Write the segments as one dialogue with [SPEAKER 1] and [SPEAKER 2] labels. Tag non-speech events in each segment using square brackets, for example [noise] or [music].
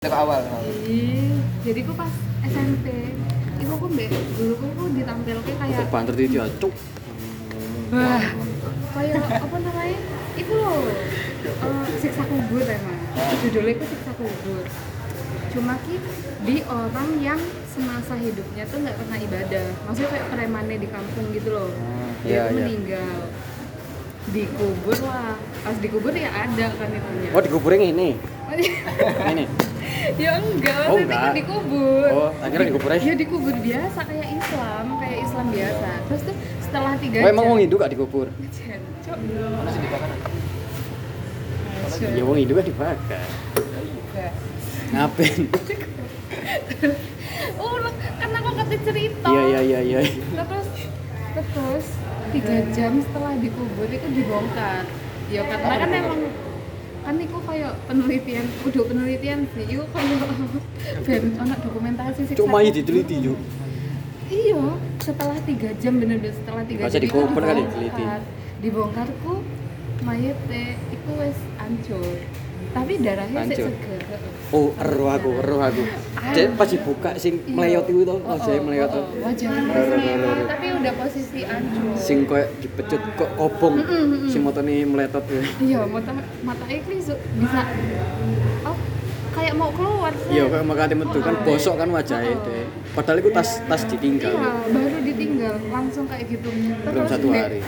[SPEAKER 1] Dari awal.
[SPEAKER 2] Ih, Iya, jadi ku pas SMP iku ku mbek dulu ku ku ditampilke kayak
[SPEAKER 3] Kok banter titi acuk.
[SPEAKER 2] wah kayak apa namanya iku lho eh, siksa kubur emang
[SPEAKER 3] Ah.
[SPEAKER 2] judulnya ku siksa kubur cuma ki di orang yang semasa hidupnya tuh nggak pernah ibadah maksudnya kayak premannya di kampung gitu loh
[SPEAKER 3] iya,
[SPEAKER 2] dia tuh
[SPEAKER 3] iya.
[SPEAKER 2] meninggal dikubur lah pas dikubur ya ada kan itunya
[SPEAKER 3] Oh, dikuburin ini. Ini.
[SPEAKER 2] [laughs] ya enggak
[SPEAKER 3] Oh,
[SPEAKER 2] maksudnya
[SPEAKER 3] enggak.
[SPEAKER 2] kan dikubur
[SPEAKER 3] Oh, akhirnya
[SPEAKER 1] Iya.
[SPEAKER 3] dikubur aja.
[SPEAKER 2] ya dikubur biasa kayak Islam kayak Islam biasa terus tuh setelah tiga
[SPEAKER 3] Oh, emang wong Hindu gak dikubur?
[SPEAKER 2] Jen, cok.
[SPEAKER 1] Mana sih di bakaran?
[SPEAKER 2] Jen.
[SPEAKER 3] Ya wong Hindu kan dibakar. Ngapain?
[SPEAKER 2] oh lo- kan aku kata cerita
[SPEAKER 3] Iya, iya, iya, iya.
[SPEAKER 2] Lah, terus terus tiga jam setelah dikubur itu dibongkar ya
[SPEAKER 1] Nah,
[SPEAKER 2] karena kan emang kan itu kayak penelitian kudu penelitian sih itu kayak [laughs] ben anak dokumentasi sih
[SPEAKER 3] Cuma aja diteliti yuk.
[SPEAKER 2] Iya, setelah tiga jam bener-bener setelah tiga
[SPEAKER 3] Masa
[SPEAKER 2] jam itu
[SPEAKER 3] dikumpul kali,
[SPEAKER 2] dibongkar.
[SPEAKER 3] teliti.
[SPEAKER 2] Dibongkarku mayete iku wis hancur. Tapi darahnya sik
[SPEAKER 3] Hancur.
[SPEAKER 2] seger.
[SPEAKER 3] Oh, eruh aku, eruh aku. Cek pas dibuka sing
[SPEAKER 2] Iya.
[SPEAKER 3] meleot itu toh,
[SPEAKER 2] Oh,
[SPEAKER 3] oh, saya
[SPEAKER 2] oh,
[SPEAKER 3] meleot.
[SPEAKER 2] oh,
[SPEAKER 3] tuh.
[SPEAKER 2] oh. Wajahnya
[SPEAKER 3] Rer, rer,
[SPEAKER 2] meleot,
[SPEAKER 3] rer, rer.
[SPEAKER 2] tapi udah posisi hancur.
[SPEAKER 3] Sing koyo dipecut kok
[SPEAKER 2] Mm,
[SPEAKER 3] kobong. Sing motone meletot. ya.
[SPEAKER 2] Iya, mata mata iku iso bisa oh, kayak mau keluar. Seth.
[SPEAKER 3] Iya, kayak makate metu kan bosok kan wajahnya
[SPEAKER 2] Oh, oh.
[SPEAKER 3] deh. Padahal itu tas tas ditinggal.
[SPEAKER 2] Iya, baru ditinggal langsung kayak gitu.
[SPEAKER 3] kan? Belum satu
[SPEAKER 2] Mbak-
[SPEAKER 3] hari.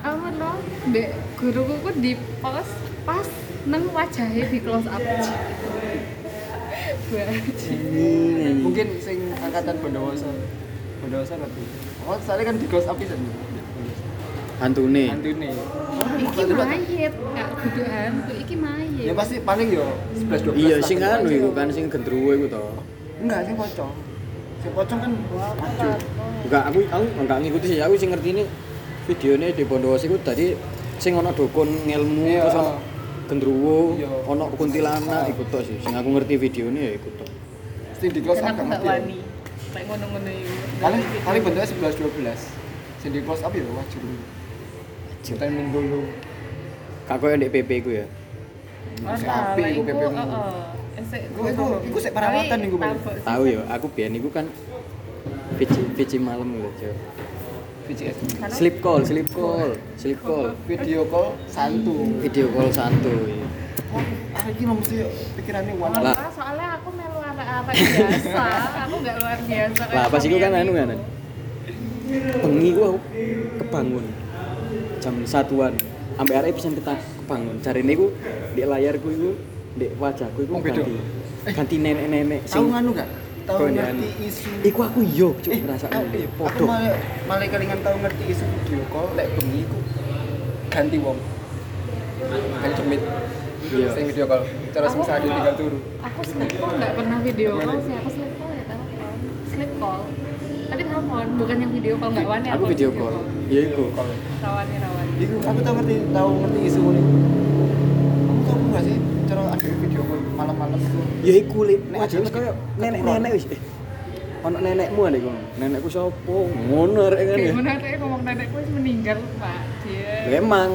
[SPEAKER 2] apa no mbak guruku ku di pos pas neng wajahnya di close up Wah,
[SPEAKER 3] Ini.
[SPEAKER 1] Mungkin sing angkatan Bondowoso. Bondowoso ngerti. Oh, soalnya kan di close up pisan.
[SPEAKER 3] Hantune.
[SPEAKER 1] Antune.
[SPEAKER 2] iki mayit kak kudu hantu iki mayit
[SPEAKER 1] Ya pasti paling yo 11 12.
[SPEAKER 3] Iya,
[SPEAKER 1] lah.
[SPEAKER 3] sing anu iku kan sing gendruwo iku toh.
[SPEAKER 1] Enggak, sing pocong. Sing pocong kan hancur.
[SPEAKER 3] Enggak, aku aku enggak ngikuti sih. Aku sing ngerti ini videonya di Bondowoso iku tadi sing ono dukun ngelmu
[SPEAKER 1] Iya.
[SPEAKER 3] terus ono gendruwo,
[SPEAKER 1] Iya.
[SPEAKER 3] ono kuntilanak iku tok sih. Sing aku ngerti videonya ya iku tok.
[SPEAKER 1] Sing di close
[SPEAKER 2] kan aku
[SPEAKER 1] up kan
[SPEAKER 2] nggak
[SPEAKER 1] ngerti.
[SPEAKER 2] wani kayak ngono-ngono itu
[SPEAKER 1] Paling paling bentuknya 11 12. Sing di close up ya wajur. Ceritain menggolo.
[SPEAKER 3] Kak koyo ndek PP ku ya.
[SPEAKER 1] Masih api iku PP. Iku iku iku sik perawatan iku. Bang.
[SPEAKER 3] Tahu ya, aku biyen iku kan PC PC malam lho, Jo.
[SPEAKER 1] VCS.
[SPEAKER 3] Sleep call, sleep call, sleep call.
[SPEAKER 1] Video call santu.
[SPEAKER 3] Video call santuy.
[SPEAKER 1] Oh, ah, iki lo mesti pikirannya walau
[SPEAKER 3] Lah.
[SPEAKER 2] soalnya aku melu apa-apa biasa aku nggak luar biasa kayak
[SPEAKER 3] Lah pas iku kan
[SPEAKER 2] kalian
[SPEAKER 3] anu
[SPEAKER 2] itu.
[SPEAKER 3] kan. Bengi ku aku kebangun. Jam satuan. Ambek arek pesen tetang kebangun. Jarine iku di layarku iku di wajahku iku
[SPEAKER 1] Oh, beda.
[SPEAKER 3] ganti. Ganti nenek-nenek
[SPEAKER 1] tahu
[SPEAKER 3] sing
[SPEAKER 1] nganu gak? Tahu
[SPEAKER 3] Kau ini
[SPEAKER 1] ngerti
[SPEAKER 3] anu.
[SPEAKER 1] isu.
[SPEAKER 3] Iku aku yo cuk
[SPEAKER 1] Eh,
[SPEAKER 3] ngerasa
[SPEAKER 1] aku- eh, Aku
[SPEAKER 3] podo.
[SPEAKER 1] malah malah kelingan tahu ngerti isu video call lek bengi iku ganti wong. Kan cemit.
[SPEAKER 3] Iya.
[SPEAKER 1] Sing video call. Cara
[SPEAKER 2] Aku-
[SPEAKER 1] semisal dia tinggal turu.
[SPEAKER 2] aku sleep call nggak pernah video call sih aku sleep call ya telepon sleep call tapi telepon bukan yang video call nggak wani
[SPEAKER 3] Aku video call. Ya iku.
[SPEAKER 1] Call.
[SPEAKER 2] rawani rawani
[SPEAKER 1] Iku aku tahu ngerti tahu ngerti isu ini. Kamu tahu nggak sih cara ada video call malam-malam itu?
[SPEAKER 3] Ya iku le.
[SPEAKER 1] Nek
[SPEAKER 3] Wajahku
[SPEAKER 1] aku-
[SPEAKER 3] koyo nenek-nenek wis. Eh, Ono nenekmu ada iku. Nenekku sapa? Ngono arek kan ya.
[SPEAKER 2] Kayak mana tuh ngomong nenekku wis meninggal pak Iya.
[SPEAKER 3] Lho,
[SPEAKER 2] dia
[SPEAKER 3] Emang.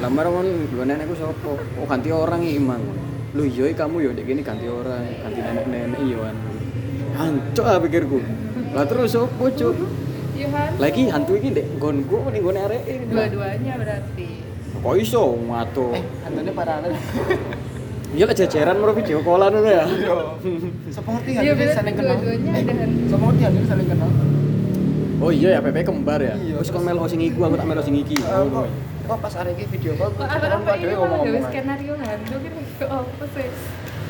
[SPEAKER 3] Lamar kon dua nenekku sapa? Oh ganti orang iki emang. Lu yo kamu yo dek gini ganti orang, ganti nenek-nenek yo an. Hancur ah pikirku. Lah terus sapa cuk?
[SPEAKER 2] Yohan
[SPEAKER 3] Lagi hantu iki dek nggonku ning nggone arek iki.
[SPEAKER 2] dua-duanya berarti
[SPEAKER 3] Kok iso ngatur?
[SPEAKER 1] Eh, hantunya para anak.
[SPEAKER 3] Iya lah jajaran mau video callan ngono ya.
[SPEAKER 1] Iya. Seperti
[SPEAKER 2] Iya,
[SPEAKER 1] hantunya
[SPEAKER 2] berarti
[SPEAKER 1] saling kenal.
[SPEAKER 2] dua-duanya
[SPEAKER 1] Eh,
[SPEAKER 2] ada kan? hantu.
[SPEAKER 1] Seperti hantunya saling kenal.
[SPEAKER 3] Iya, Oh iya ya Pepe kembar ya.
[SPEAKER 1] Iya,
[SPEAKER 3] Wis
[SPEAKER 1] terus-
[SPEAKER 3] kon melu sing iku aku tak melu sing iki.
[SPEAKER 1] Eh, Kok
[SPEAKER 3] iya.
[SPEAKER 1] kok pas hari ini video call,
[SPEAKER 2] kok apa apa ini malah gawe skenario hantu gitu oh apa sih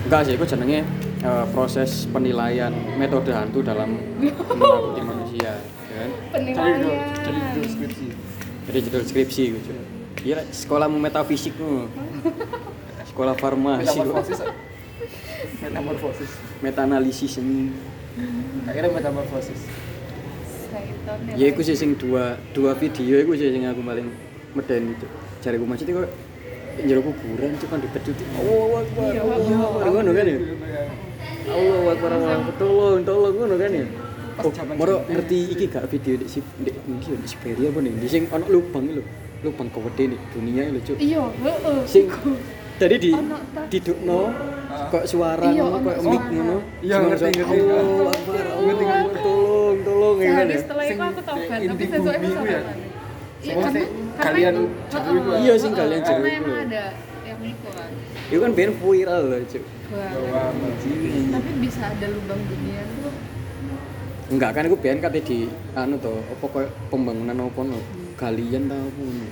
[SPEAKER 3] Enggak sih, itu jenenge eh, proses penilaian metode hantu dalam
[SPEAKER 1] [laughs]
[SPEAKER 3] menakuti manusia, ya kan?
[SPEAKER 1] Jadi,
[SPEAKER 2] penilaian
[SPEAKER 1] jadi deskripsi.
[SPEAKER 3] Jadi judul skripsi gitu. Iya, sekolahmu metafisik mu. Sekolah farmasi,
[SPEAKER 1] metamorfosis metamorfosis
[SPEAKER 3] metanalisis ini.
[SPEAKER 1] akhirnya metamorfosis
[SPEAKER 2] Saiton
[SPEAKER 3] Ya iku sih sing dua dua video iku sih sing aku paling medeni itu. Jare ku masjid iku jero kuburan kan cuma dipeduti. Allah Akbar.
[SPEAKER 2] Iya,
[SPEAKER 3] Allah Akbar. Ngono kan ya? Allah Akbar. Allah Akbar. Tolong, tolong ngono kan ya?
[SPEAKER 1] Pas
[SPEAKER 3] Oh,
[SPEAKER 1] zaman
[SPEAKER 3] moro
[SPEAKER 1] SMP.
[SPEAKER 3] ngerti iki gak video di si di iki di Siberia apa nih? Di sing ono lubang iki lho. Lubang kewede nih dunia iki lho, Cuk.
[SPEAKER 2] iya heeh
[SPEAKER 3] Sing tadi di
[SPEAKER 2] Ono ta.
[SPEAKER 3] didukno kok suara
[SPEAKER 2] Iya,
[SPEAKER 3] ngono kok
[SPEAKER 2] ono Iya,
[SPEAKER 3] mic
[SPEAKER 2] suara.
[SPEAKER 3] ngono
[SPEAKER 1] Ah. Iya,
[SPEAKER 3] Cuma
[SPEAKER 1] ngerti,
[SPEAKER 3] suara,
[SPEAKER 1] ngerti.
[SPEAKER 3] Allahu Akbar, Allahu Akbar, tolong tolong ya kan
[SPEAKER 2] Sehari
[SPEAKER 3] ya
[SPEAKER 2] setelah itu aku tobat,
[SPEAKER 1] Sing
[SPEAKER 2] tapi
[SPEAKER 1] di
[SPEAKER 2] sesuai
[SPEAKER 1] bumi ku
[SPEAKER 2] aku
[SPEAKER 1] ya.
[SPEAKER 2] tobat. Iya,
[SPEAKER 1] Sing
[SPEAKER 2] karena,
[SPEAKER 1] sing
[SPEAKER 2] karena
[SPEAKER 1] kalian
[SPEAKER 2] itu,
[SPEAKER 1] jeru iku ya.
[SPEAKER 2] heeh,
[SPEAKER 3] Iya, sing
[SPEAKER 2] heeh,
[SPEAKER 3] kalian jeru
[SPEAKER 2] Karena
[SPEAKER 3] iku
[SPEAKER 2] emang
[SPEAKER 3] ya.
[SPEAKER 2] ada yang itu kan.
[SPEAKER 3] itu kan band viral loh cuy
[SPEAKER 2] Wah,
[SPEAKER 1] Wah, bajingan.
[SPEAKER 2] Tapi bisa ada lubang dunia tuh.
[SPEAKER 3] enggak kan aku band kate di anu to apa koyo pembangunan apa no galian ta apa ngono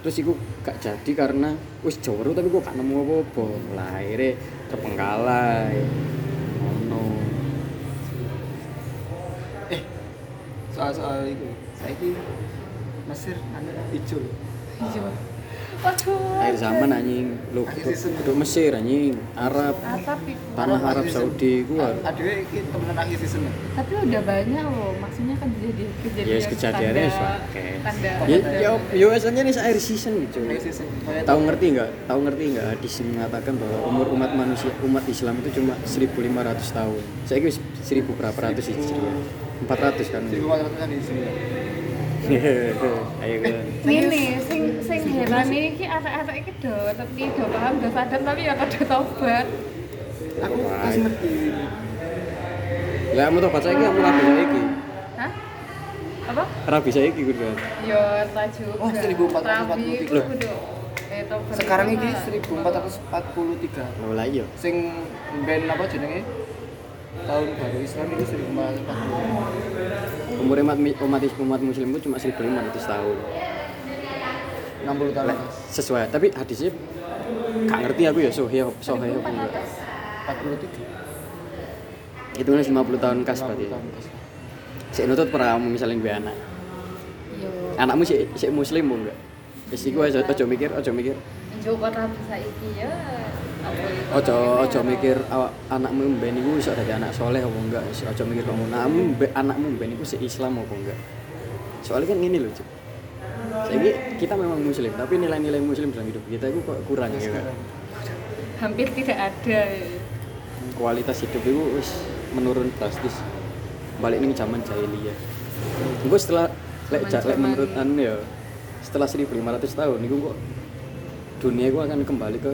[SPEAKER 3] terus iku gak jadi karena wis joro tapi kok gak nemu apa-apa lah akhirnya terpenggalai ngono
[SPEAKER 1] eh soal-soal itu saya Mesir anu hijau
[SPEAKER 2] Hijau. Waduh.
[SPEAKER 3] akhir zaman anjing lu kudu, kudu Mesir anjing Arab
[SPEAKER 2] Atap itu.
[SPEAKER 3] tanah Arab
[SPEAKER 1] akhir season.
[SPEAKER 3] Saudi gua
[SPEAKER 1] A- adewe iki temenan akhir season ya?
[SPEAKER 2] Tapi udah banyak loh, maksudnya kan kejadian kejadian.
[SPEAKER 3] Yes, kejadiannya
[SPEAKER 2] tanda-
[SPEAKER 3] wis akeh.
[SPEAKER 2] Tanda.
[SPEAKER 3] ya ya ya asalnya nih air season gitu
[SPEAKER 1] akhir season Kayak
[SPEAKER 3] tahu ngerti nggak tahu ngerti nggak hadis yang mengatakan bahwa umur umat manusia umat Islam itu cuma 1500 tahun saya kira 1000 berapa ratus hijriah 400
[SPEAKER 2] [laughs]
[SPEAKER 3] kan
[SPEAKER 1] si rumah teman di sini ya
[SPEAKER 3] ayo kan
[SPEAKER 2] Ini sing sing
[SPEAKER 3] Iya.
[SPEAKER 2] heran iki arek-arek iki do tapi do paham do sadar tapi ya kada tobat.
[SPEAKER 1] aku
[SPEAKER 3] Wah.
[SPEAKER 1] pas ngerti
[SPEAKER 3] ya kamu tau saya kamu rabi saya ki
[SPEAKER 2] Hah? Apa?
[SPEAKER 3] rabi saya ki gue
[SPEAKER 2] Yo, ta juga.
[SPEAKER 1] Oh, 1443.
[SPEAKER 2] Tapi iku
[SPEAKER 3] Loh.
[SPEAKER 2] kudu eh tobat.
[SPEAKER 1] sekarang ini
[SPEAKER 2] Pak.
[SPEAKER 1] 1443
[SPEAKER 3] mau lagi ya
[SPEAKER 1] sing band apa jenenge tahun baru Islam itu 1443
[SPEAKER 3] umur umat mi- umat umat muslim itu cuma 1500 tahun
[SPEAKER 1] 60 tahun
[SPEAKER 3] Lah, sesuai tapi hadisnya nggak ngerti aku ya sohih sohih apa enggak
[SPEAKER 1] 43
[SPEAKER 3] itu kan 50 tahun kas
[SPEAKER 1] 60
[SPEAKER 3] berarti
[SPEAKER 1] tahun
[SPEAKER 3] saya nutut peramu misalnya gue anak
[SPEAKER 2] Yo.
[SPEAKER 3] anakmu sih sih muslim bu enggak Wis iku aja ojo mikir, ojo mikir,
[SPEAKER 2] Njuk kota bisa iki ya. Apa itu?
[SPEAKER 3] ojo ojo mikir awak anakmu mben iku iso dadi anak soleh apa enggak, Wis ojo mikir kok ngono. Anakmu mbe- anakmu mben iku sik Islam apa enggak. Soalnya kan gini loh, Cuk. Saiki kita memang muslim, tapi nilai-nilai muslim dalam hidup kita itu kok kurang ya. Kak?
[SPEAKER 2] hampir tidak ada. ya.
[SPEAKER 3] Kualitas hidup itu wis menurun drastis. Balik ning zaman jahiliyah. Gue setelah lek ja- lek
[SPEAKER 2] Zaman-zaman-
[SPEAKER 3] menurut anu ya, setelah 1500 tahun niku kok dunia gua akan kembali ke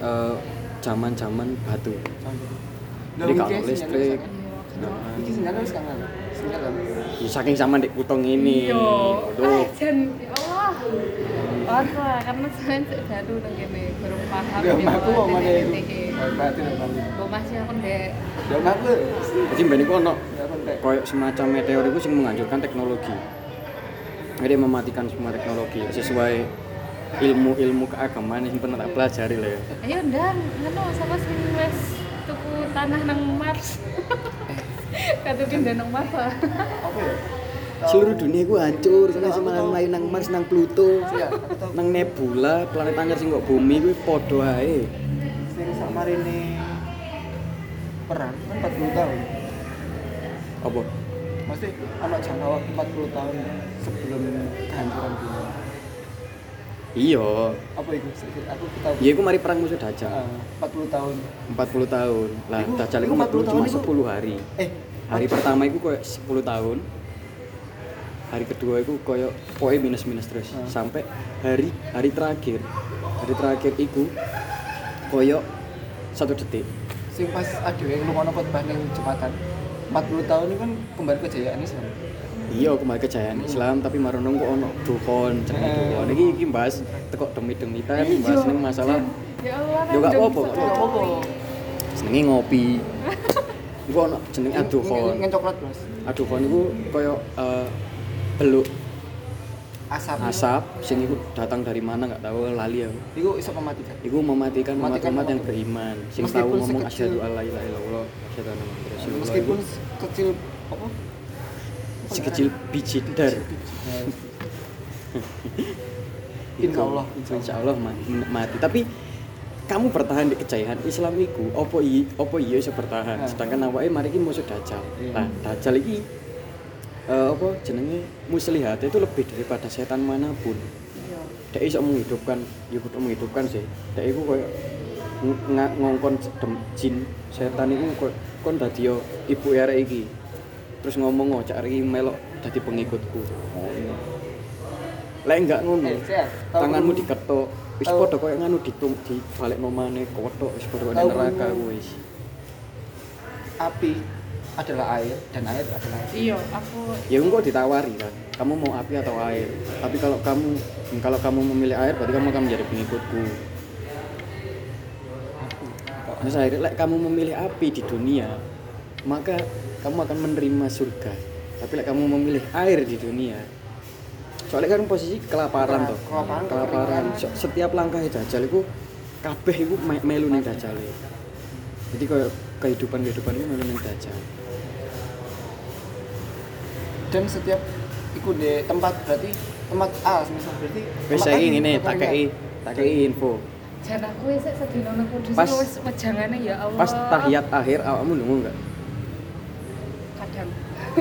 [SPEAKER 3] eh, zaman-zaman batu. Jadi kalau listrik,
[SPEAKER 1] Nah, iki sinyalnya wis kangen. Sinyal kan.
[SPEAKER 3] ya saking sama dek kutong ini.
[SPEAKER 2] Iya.
[SPEAKER 3] Aduh,
[SPEAKER 2] Ah, jan Allah. Ora, karena sampean sik baru nang kene burung paham. ya,
[SPEAKER 1] Ya omahku
[SPEAKER 2] Pak,
[SPEAKER 1] omahnya
[SPEAKER 2] titik-
[SPEAKER 1] iku.
[SPEAKER 2] titik.
[SPEAKER 1] Oh, Berarti lho Bang.
[SPEAKER 2] Omah sih aku ndek.
[SPEAKER 1] Ya omahku.
[SPEAKER 3] jadi mbak niku ono
[SPEAKER 1] Ya kontak.
[SPEAKER 3] koyok semacam meteor itu sing menghancurkan teknologi. Jadi mematikan semua teknologi sesuai ilmu-ilmu keagamaan yang pernah tak pelajari lah ya.
[SPEAKER 2] Ayo ndang, ngono sama sing wes tuku tanah nang Mars. [laughs] Kata pindah nang Mars. Pak.
[SPEAKER 1] Apa ya?
[SPEAKER 3] Seluruh dunia gue hancur, sana sama nang lain nang Mars, nang Pluto,
[SPEAKER 1] Iya, aku tau.
[SPEAKER 3] nang nebula, planet anyar sing kok bumi gue podo ae.
[SPEAKER 1] Sing sak marine perang kan 40 tahun.
[SPEAKER 3] Apa?
[SPEAKER 1] Mesti anak jangka waktu 40 tahun sebelum kehancuran dunia.
[SPEAKER 3] Iya.
[SPEAKER 1] Apa itu? Aku tahu.
[SPEAKER 3] Ya iku mari perang musuh Dajjal.
[SPEAKER 1] Ah, 40 tahun.
[SPEAKER 3] 40 tahun. Lah
[SPEAKER 1] Iku-
[SPEAKER 3] Dajjal
[SPEAKER 1] iku
[SPEAKER 3] iku metu
[SPEAKER 1] 40 tahun
[SPEAKER 3] cuma
[SPEAKER 1] iku-
[SPEAKER 3] 10 hari.
[SPEAKER 1] Eh,
[SPEAKER 3] Hari pertama iku koyo 10 tahun. Hari kedua iku koyo poe minus-minus terus
[SPEAKER 1] Ah.
[SPEAKER 3] sampai hari hari terakhir. Hari terakhir iku koyo satu detik.
[SPEAKER 1] sing pas adewe lunga khotbah ning jembatan. 40 tahun itu kan kembali kejayaan Islam.
[SPEAKER 3] Iya, kembali kejayaan Islam tapi marono kok ono dukun, jenenge
[SPEAKER 1] Eh.
[SPEAKER 3] dukun. Iki iki bahas teko demi-demi ta bahas ning masalah
[SPEAKER 2] Ya Allah.
[SPEAKER 3] Ya nggak
[SPEAKER 2] random
[SPEAKER 3] apa-apa, nggak
[SPEAKER 2] sekali.
[SPEAKER 1] apa-apa.
[SPEAKER 3] senenge ngopi. Iku ono jenenge
[SPEAKER 1] Ngen-
[SPEAKER 3] adukon.
[SPEAKER 1] ngen coklat, Mas.
[SPEAKER 3] Adukon iku koyo eh, beluk
[SPEAKER 1] Asap.
[SPEAKER 3] asap sing iku datang dari mana nggak tahu lali aku.
[SPEAKER 1] Iku iso mematikan.
[SPEAKER 3] Iku mematikan
[SPEAKER 1] Mematikan
[SPEAKER 3] umat-umat yang
[SPEAKER 1] umat.
[SPEAKER 3] beriman. Sing
[SPEAKER 1] Meskipun
[SPEAKER 3] tahu ngomong
[SPEAKER 1] sekecil-
[SPEAKER 3] asyhadu alla ilaha illallah asyhadu anna muhammadar rasulullah.
[SPEAKER 1] Meskipun
[SPEAKER 3] iku
[SPEAKER 1] kecil apa?
[SPEAKER 3] sekecil biji dar. [laughs]
[SPEAKER 1] Insya Allah.
[SPEAKER 3] Insya Allah ma- mati. Tapi kamu bertahan di kejayaan Islam iku opo i opo iya iso bertahan.
[SPEAKER 1] Nah.
[SPEAKER 3] Sedangkan awake mari ki musuh dajal.
[SPEAKER 1] Iya.
[SPEAKER 3] Nah, dajal iki eh, apa jenenge muslihat itu lebih daripada setan manapun.
[SPEAKER 2] Iya.
[SPEAKER 3] Dek iso menghidupkan, ya kudu menghidupkan sih. Dek iku koyo ng- nga- ngongkon dem- jin setan iku koyo kon dadi yo ibu arek iki. "Oh, Terus ngomong ngocak arek iki melok dadi pengikutku. lek enggak ngono
[SPEAKER 1] Oh, Eh, Cer, tahu
[SPEAKER 3] tanganmu
[SPEAKER 1] perlu-
[SPEAKER 3] diketok wis
[SPEAKER 1] tahu-
[SPEAKER 3] padha koyo nganu ditung dibalekno maneh kotok wis padha koyo
[SPEAKER 1] Tahu
[SPEAKER 3] neraka
[SPEAKER 1] perlu-
[SPEAKER 3] wis
[SPEAKER 1] api adalah air dan air adalah air.
[SPEAKER 2] iya aku
[SPEAKER 3] ya engko ditawari kan kamu mau api atau air tapi kalau kamu kalau kamu memilih air berarti kamu akan menjadi pengikutku terus akhirnya lek kamu memilih api di dunia maka kamu akan menerima surga tapi lek kamu memilih air di dunia soalnya kan posisi kelaparan toh
[SPEAKER 1] Kelaparan,
[SPEAKER 3] kelaparan So- setiap langkah dajal itu kabeh itu me- melu ning dajal e. jadi kayak kehidupan kehidupan itu melu ning dajal
[SPEAKER 1] dan setiap ikut di tempat berarti tempat A misal berarti
[SPEAKER 3] wis
[SPEAKER 1] tempat A
[SPEAKER 3] saiki
[SPEAKER 1] di-
[SPEAKER 3] ngene tak
[SPEAKER 1] tempat
[SPEAKER 3] kei
[SPEAKER 1] A.
[SPEAKER 3] tak kei info
[SPEAKER 2] jan aku wis sedina nang kudus
[SPEAKER 3] Pas-
[SPEAKER 2] wis wejangane ya Allah
[SPEAKER 3] pas tahiyat akhir awakmu lungo enggak
[SPEAKER 2] kadang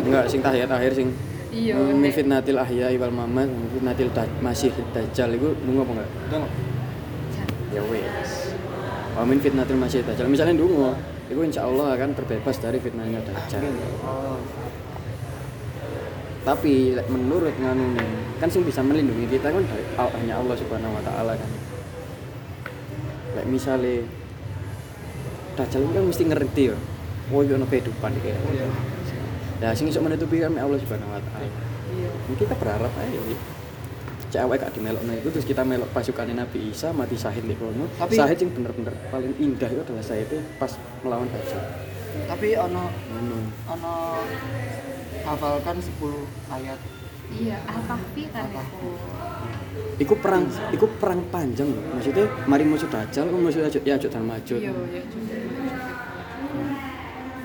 [SPEAKER 3] enggak sing tahiyat akhir sing
[SPEAKER 2] iya
[SPEAKER 3] Hmm, min
[SPEAKER 2] nek
[SPEAKER 3] fitnatil ahya wal mamat min fitnatil daj masih dajjal itu dungo apa enggak
[SPEAKER 1] Dong.
[SPEAKER 2] jan
[SPEAKER 3] ya wes wa Oh, min fitnatil masih dajjal misalnya dungo itu insya Allah akan terbebas dari fitnahnya dajjal
[SPEAKER 1] Oh.
[SPEAKER 3] tapi lek menurut nganu nih kan sing bisa melindungi kita kan dari- al- hanya Allah subhanahu wa ta'ala kan lek misalnya dajjal itu kan mesti ngerti ya oh iya ada kehidupan kayak
[SPEAKER 1] Iya.
[SPEAKER 3] nah sing iso menutupi kan Allah subhanahu wa ta'ala
[SPEAKER 2] iya
[SPEAKER 3] Ya, kita berharap aja ya. cewek gak dimelokno itu terus kita melok pasukannya Nabi Isa mati sahid di kono
[SPEAKER 1] Tapi-
[SPEAKER 3] sahid yang bener-bener paling indah itu adalah sahid pas melawan Dajjal
[SPEAKER 1] tapi ono
[SPEAKER 3] ngono
[SPEAKER 1] ono hafalkan 10 ayat
[SPEAKER 2] iya al-kahfi kan
[SPEAKER 1] Al-Kahfi.
[SPEAKER 2] itu
[SPEAKER 3] iku perang iku perang panjang loh maksudnya mari musuh Dajjal kok musuh Yajud ya dan Majud
[SPEAKER 2] iya ya juga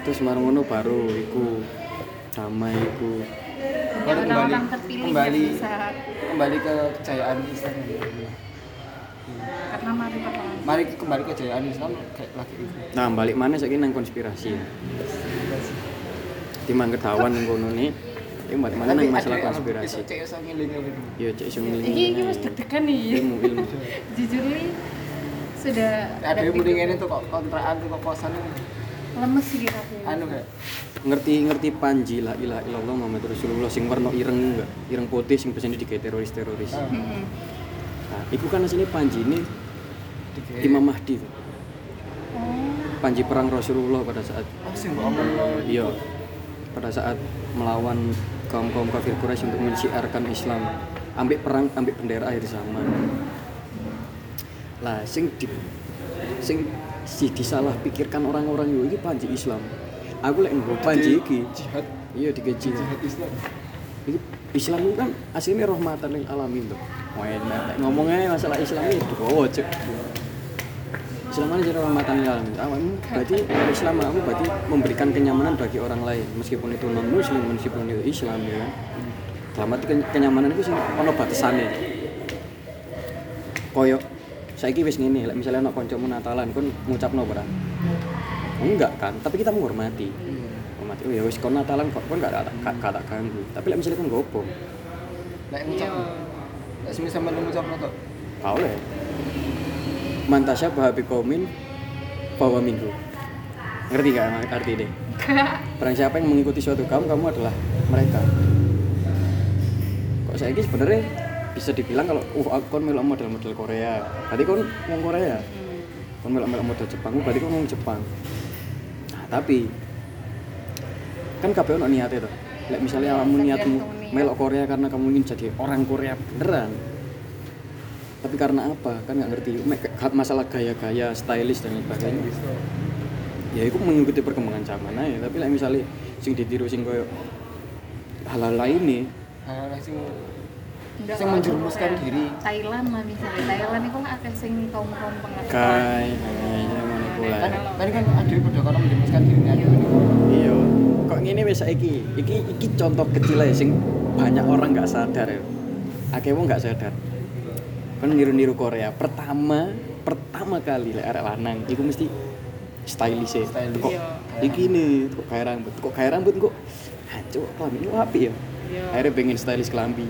[SPEAKER 3] terus marang ngono baru iku damai iku
[SPEAKER 1] Baru
[SPEAKER 2] Karena
[SPEAKER 1] kembali-
[SPEAKER 2] orang Iya, terpilih
[SPEAKER 1] kembali.
[SPEAKER 2] yang besar
[SPEAKER 1] kembali ke kejayaan Islam
[SPEAKER 2] karena mari pertolongan
[SPEAKER 1] mari kembali ke kejayaan Islam kayak lagi itu
[SPEAKER 3] nah balik mana saiki nang konspirasi ya timang ketahuan yang kono nih ya balik mana nang masalah konspirasi
[SPEAKER 1] cek iso ngiling-ngiling
[SPEAKER 3] ya cek iso
[SPEAKER 2] iki iki wis
[SPEAKER 3] ngelingi
[SPEAKER 2] deg-degan nih
[SPEAKER 3] ilmu ilmu
[SPEAKER 2] jujur nih sudah
[SPEAKER 1] ada yang
[SPEAKER 2] lebih-
[SPEAKER 1] mending ini tuh kok kontrakan tuh kok kosan tuh.
[SPEAKER 2] lemes sih aku
[SPEAKER 1] anu kayak
[SPEAKER 3] ngerti ngerti panji la ilaha illallah Muhammad Rasulullah sing warna ireng enggak ireng putih sing biasanya digawe teroris-teroris
[SPEAKER 1] ah,
[SPEAKER 2] Heeh.
[SPEAKER 3] nah iku kan asline panji ini
[SPEAKER 1] dikit.
[SPEAKER 3] Imam Mahdi tuh.
[SPEAKER 2] oh
[SPEAKER 3] panji perang Rasulullah pada saat
[SPEAKER 1] oh sih mbak omong
[SPEAKER 3] iya pada saat melawan kaum-kaum kafir Quraisy untuk mensiarkan Islam ambek perang ambek bendera akhir zaman lah sing di sing si disalah pikirkan orang-orang yo iki panji Islam aku lek nggo panji iki
[SPEAKER 1] jihad
[SPEAKER 3] iya dikeji
[SPEAKER 1] jihad Islam
[SPEAKER 3] Jadi Islam itu kan aslinya rahmatan lil alamin tuh. Wah, enak. ngomongnya masalah Islam itu bawa cek. Islam kan jadi rahmatan lil alamin. Awakmu berarti Islam kamu berarti memberikan kenyamanan bagi orang lain meskipun itu non muslim meskipun itu Islam ya kan. Selamat ken- kenyamanan itu sih ono batasannya. Koyok saiki wis ngene, lek misalnya ono kancamu Natalan kon ngucapno ora? Enggak kan, tapi kita menghormati
[SPEAKER 1] Iya.
[SPEAKER 3] hormati oh ya wis kon Natalan kok kon gak tak gak- gak tak ganggu tapi lek misalnya kon gopo
[SPEAKER 1] lek
[SPEAKER 2] iya
[SPEAKER 1] ngucap lek semisal melu ngucap no, kok
[SPEAKER 3] gak oleh mantasya bahabi komin bahwa minggu ngerti gak mak- arti deh
[SPEAKER 2] enggak
[SPEAKER 3] Barang siapa yang mengikuti suatu kaum kamu adalah mereka kok saya ini sebenarnya bisa dibilang kalau oh aku kon melok model-model Korea berarti kon wong Korea kon melok-melok model Jepang berarti kon wong Jepang nah tapi kan kabeh ono niate to lek misalnya kamu niatmu
[SPEAKER 2] tergantung niat.
[SPEAKER 3] melok Korea karena kamu ingin jadi orang Korea beneran tapi karena apa kan nggak ngerti Mek- masalah gaya-gaya stylish dan lain sebagainya ya itu mengikuti perkembangan zaman aja tapi lek misalnya sing ditiru sing koyo hal-hal lainnya
[SPEAKER 1] hal Ah, sing
[SPEAKER 2] enggak
[SPEAKER 1] Sing
[SPEAKER 2] lah,
[SPEAKER 1] menjerumuskan
[SPEAKER 2] kayak
[SPEAKER 1] diri.
[SPEAKER 2] Thailand lah misalnya Thailand itu kan akeh sing kaum-kaum pengecut
[SPEAKER 3] kai kayaknya
[SPEAKER 1] kan
[SPEAKER 3] manipulan
[SPEAKER 1] kan kan ada pada orang menjerumuskan dirinya aja
[SPEAKER 3] iya kok ngene wis saiki iki iki contoh kecil ae sing banyak orang nggak sadar ya akeh wong nggak sadar kan niru-niru Korea pertama pertama kali lek arek lanang iku mesti stylish ya
[SPEAKER 1] Stylish.
[SPEAKER 3] kok
[SPEAKER 2] Iya.
[SPEAKER 3] iki nih kok kaya rambut kok kaya rambut kok hancur kelambi ini api ya
[SPEAKER 2] Iya.
[SPEAKER 3] akhirnya pengen stylish kelambi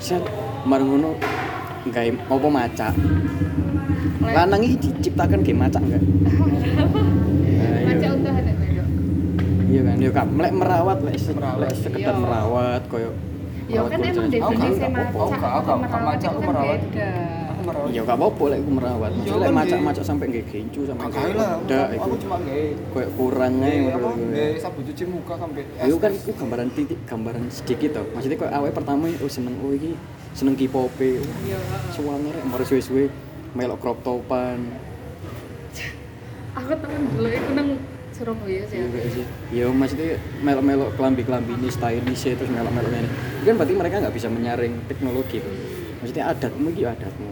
[SPEAKER 3] set marang ngono gawe apa macak lanang iki diciptakan kayak macak
[SPEAKER 2] [laughs]
[SPEAKER 3] enggak Nah, iya.
[SPEAKER 2] macam udah ada
[SPEAKER 3] iya kan yo kak melek merawat lek se-
[SPEAKER 1] Merawat.
[SPEAKER 3] lek sekedar
[SPEAKER 2] Iya.
[SPEAKER 3] merawat koyo
[SPEAKER 2] ya kan
[SPEAKER 3] Merawat
[SPEAKER 2] emang
[SPEAKER 3] bocah.
[SPEAKER 1] Aku gak-
[SPEAKER 2] definisi
[SPEAKER 1] aku
[SPEAKER 2] macak
[SPEAKER 1] gak- aku
[SPEAKER 2] sama
[SPEAKER 1] gak-
[SPEAKER 2] merawat
[SPEAKER 1] macak
[SPEAKER 2] itu kan
[SPEAKER 1] merawat.
[SPEAKER 2] beda
[SPEAKER 1] Aku merawat.
[SPEAKER 3] Ya gak apa-apa lek iku merawat.
[SPEAKER 1] Iya,
[SPEAKER 3] Lek
[SPEAKER 1] kan,
[SPEAKER 3] macak-macak sampai nggih gencu sampai
[SPEAKER 1] Gak gawe lah. aku-
[SPEAKER 3] Ndak
[SPEAKER 1] Aku
[SPEAKER 3] iku. Iya,
[SPEAKER 1] cuma gay.
[SPEAKER 3] Kayak kurang ae
[SPEAKER 1] apa?
[SPEAKER 3] menurut gue.
[SPEAKER 1] Gay sabu cuci muka sampai.
[SPEAKER 3] Yo kan iku gambaran titik, gambaran sedikit toh. Maksudnya kok awake pertama oh seneng oh iki seneng K-pop e.
[SPEAKER 2] Iya, heeh.
[SPEAKER 3] Suwange rek mari suwe-suwe melok crop topan.
[SPEAKER 2] aku temen dulu itu nang Surabaya sih
[SPEAKER 3] Iya kayak sih. Ya maksudnya melok-melok kelambi-kelambi ini stylish terus melok-melok ini. Itu Kan berarti mereka nggak bisa menyaring teknologi tuh. Maksudnya adatmu gitu adatmu.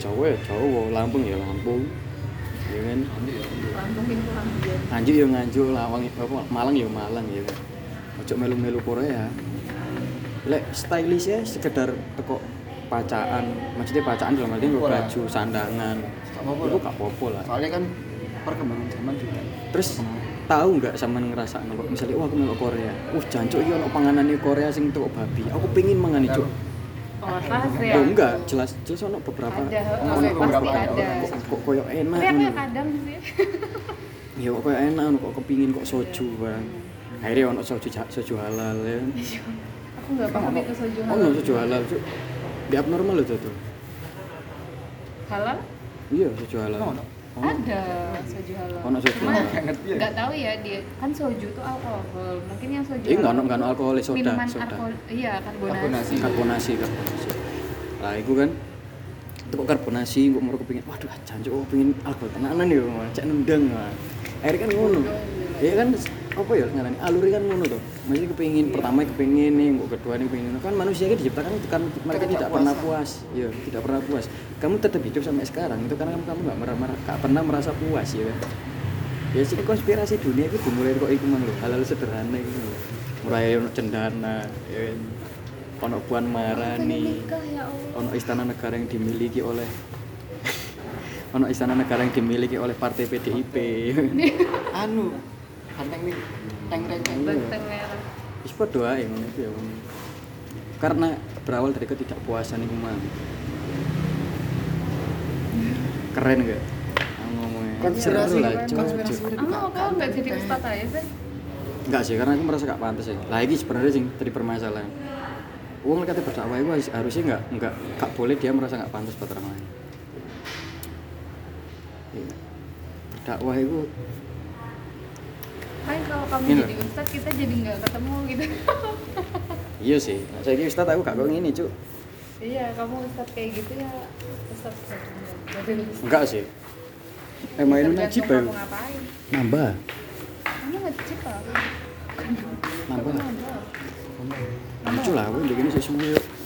[SPEAKER 3] Jawa ya Jawa, Lampung ya Lampung. Ya kan.
[SPEAKER 2] Lampung itu Lampung
[SPEAKER 3] Anjuk ya nganjuk, Lawang ya apa, Malang ya Malang ya kan. Ojo melu-melu Korea. Lek stylish ya sekedar teko pacaan. Maksudnya pacaan dalam arti nggo
[SPEAKER 1] Ora.
[SPEAKER 3] baju, sandangan.
[SPEAKER 1] Gak apa-apa
[SPEAKER 3] Itu
[SPEAKER 1] lah.
[SPEAKER 3] gak apa-apa lah.
[SPEAKER 1] Soalnya kan perkembangan zaman juga.
[SPEAKER 3] Terus tahu nggak sama ngerasa kok misalnya wah aku melok Korea, wah jancuk iki ono panganane Korea sing teko babi. Aku pengin mangan itu.
[SPEAKER 2] oh pas ya
[SPEAKER 3] Oh enggak, jelas jelas ono beberapa.
[SPEAKER 2] Ada, heeh,
[SPEAKER 3] ono
[SPEAKER 1] pasti
[SPEAKER 3] beberapa
[SPEAKER 1] ada.
[SPEAKER 3] kok kok koyo enak.
[SPEAKER 2] tapi aku
[SPEAKER 3] ngono.
[SPEAKER 2] yang kadang sih
[SPEAKER 3] Ya kok koyo enak ono, kok kepingin kok soju barang. Akhirnya ono soju ja- soju halal ya.
[SPEAKER 2] aku nggak paham itu soju
[SPEAKER 3] Oh, ono
[SPEAKER 2] halal
[SPEAKER 3] soju halal. Cuk. Di abnormal itu tuh.
[SPEAKER 2] halal
[SPEAKER 3] Iya, soju halal.
[SPEAKER 1] Ono, ono.
[SPEAKER 3] Ono.
[SPEAKER 2] ada soju halal
[SPEAKER 3] Ono Oh. soju
[SPEAKER 2] Cuma
[SPEAKER 3] halal.
[SPEAKER 1] Gak ngerti ya.
[SPEAKER 2] nggak tahu ya dia kan soju tuh alkohol mungkin yang soju
[SPEAKER 3] Iya, nggak
[SPEAKER 2] halal
[SPEAKER 3] ono nggak ono
[SPEAKER 2] tuh
[SPEAKER 3] alkoholnya, soda,
[SPEAKER 2] minuman
[SPEAKER 3] soda.
[SPEAKER 2] alkohol iya karbonasi
[SPEAKER 1] Karbonasi.
[SPEAKER 3] karbonasi karbonasi lah itu kan itu kok karbonasi kok mau kepingin waduh jancuk oh, pengen alkohol tenanan ya Mas. cek nendang Mas. akhirnya kan ngono ya kan apa ya ngarani alurnya kan ngono tuh masih kepingin pertama kepingin nih kok kedua nih kepingin kan manusia kan diciptakan kan mereka
[SPEAKER 1] Tidak
[SPEAKER 3] tidak
[SPEAKER 1] puas.
[SPEAKER 3] pernah puas ya tidak pernah puas kamu tetap hidup sampai sekarang itu karena kamu kamu nggak merah nggak pernah merasa puas ya kan ya sih konspirasi dunia itu dimulai kok iku mang lho halal sederhana iku lho mulai ono cendana ya kan ono puan marani
[SPEAKER 2] nikah ya Allah
[SPEAKER 3] ono istana negara yang dimiliki oleh [laughs] ono istana negara yang dimiliki oleh partai PDIP
[SPEAKER 1] Anu, banteng nih, teng teng teng.
[SPEAKER 2] banteng merah
[SPEAKER 3] wis padha ae ngono iku ya ngono. karena berawal dari ketidakpuasan iku mang keren gak ngomongnya
[SPEAKER 1] Konspirasi,
[SPEAKER 3] Seru lah,
[SPEAKER 1] keren.
[SPEAKER 3] Cuk.
[SPEAKER 1] Konspirasi.
[SPEAKER 2] Kamu kalau nggak jadi ustadz aja sih?
[SPEAKER 3] Enggak sih, karena aku merasa gak pantas ya. Lah iki sebenarnya sing jadi permasalahan. Wong kata berdakwah itu harus- harusnya enggak enggak enggak boleh dia merasa enggak pantas buat orang lain. Iya. Berdakwah itu
[SPEAKER 2] Kan kalau kamu
[SPEAKER 3] Gini.
[SPEAKER 2] jadi ustadz kita jadi nggak ketemu gitu.
[SPEAKER 3] iya sih. Saya ini ustaz aku gak kok ngene, Cuk.
[SPEAKER 2] [laughs] iya, kamu ustadz kayak gitu ya ustadz gitu. jadi ustadz.
[SPEAKER 3] Enggak sih. Eh main najib bae.
[SPEAKER 2] Tergantung Kamu ngapain?
[SPEAKER 3] Nambah.
[SPEAKER 2] Kamu najib apa?
[SPEAKER 3] Nambah.
[SPEAKER 2] Kamu nambah.
[SPEAKER 3] Lucu lah aku begini sesuai.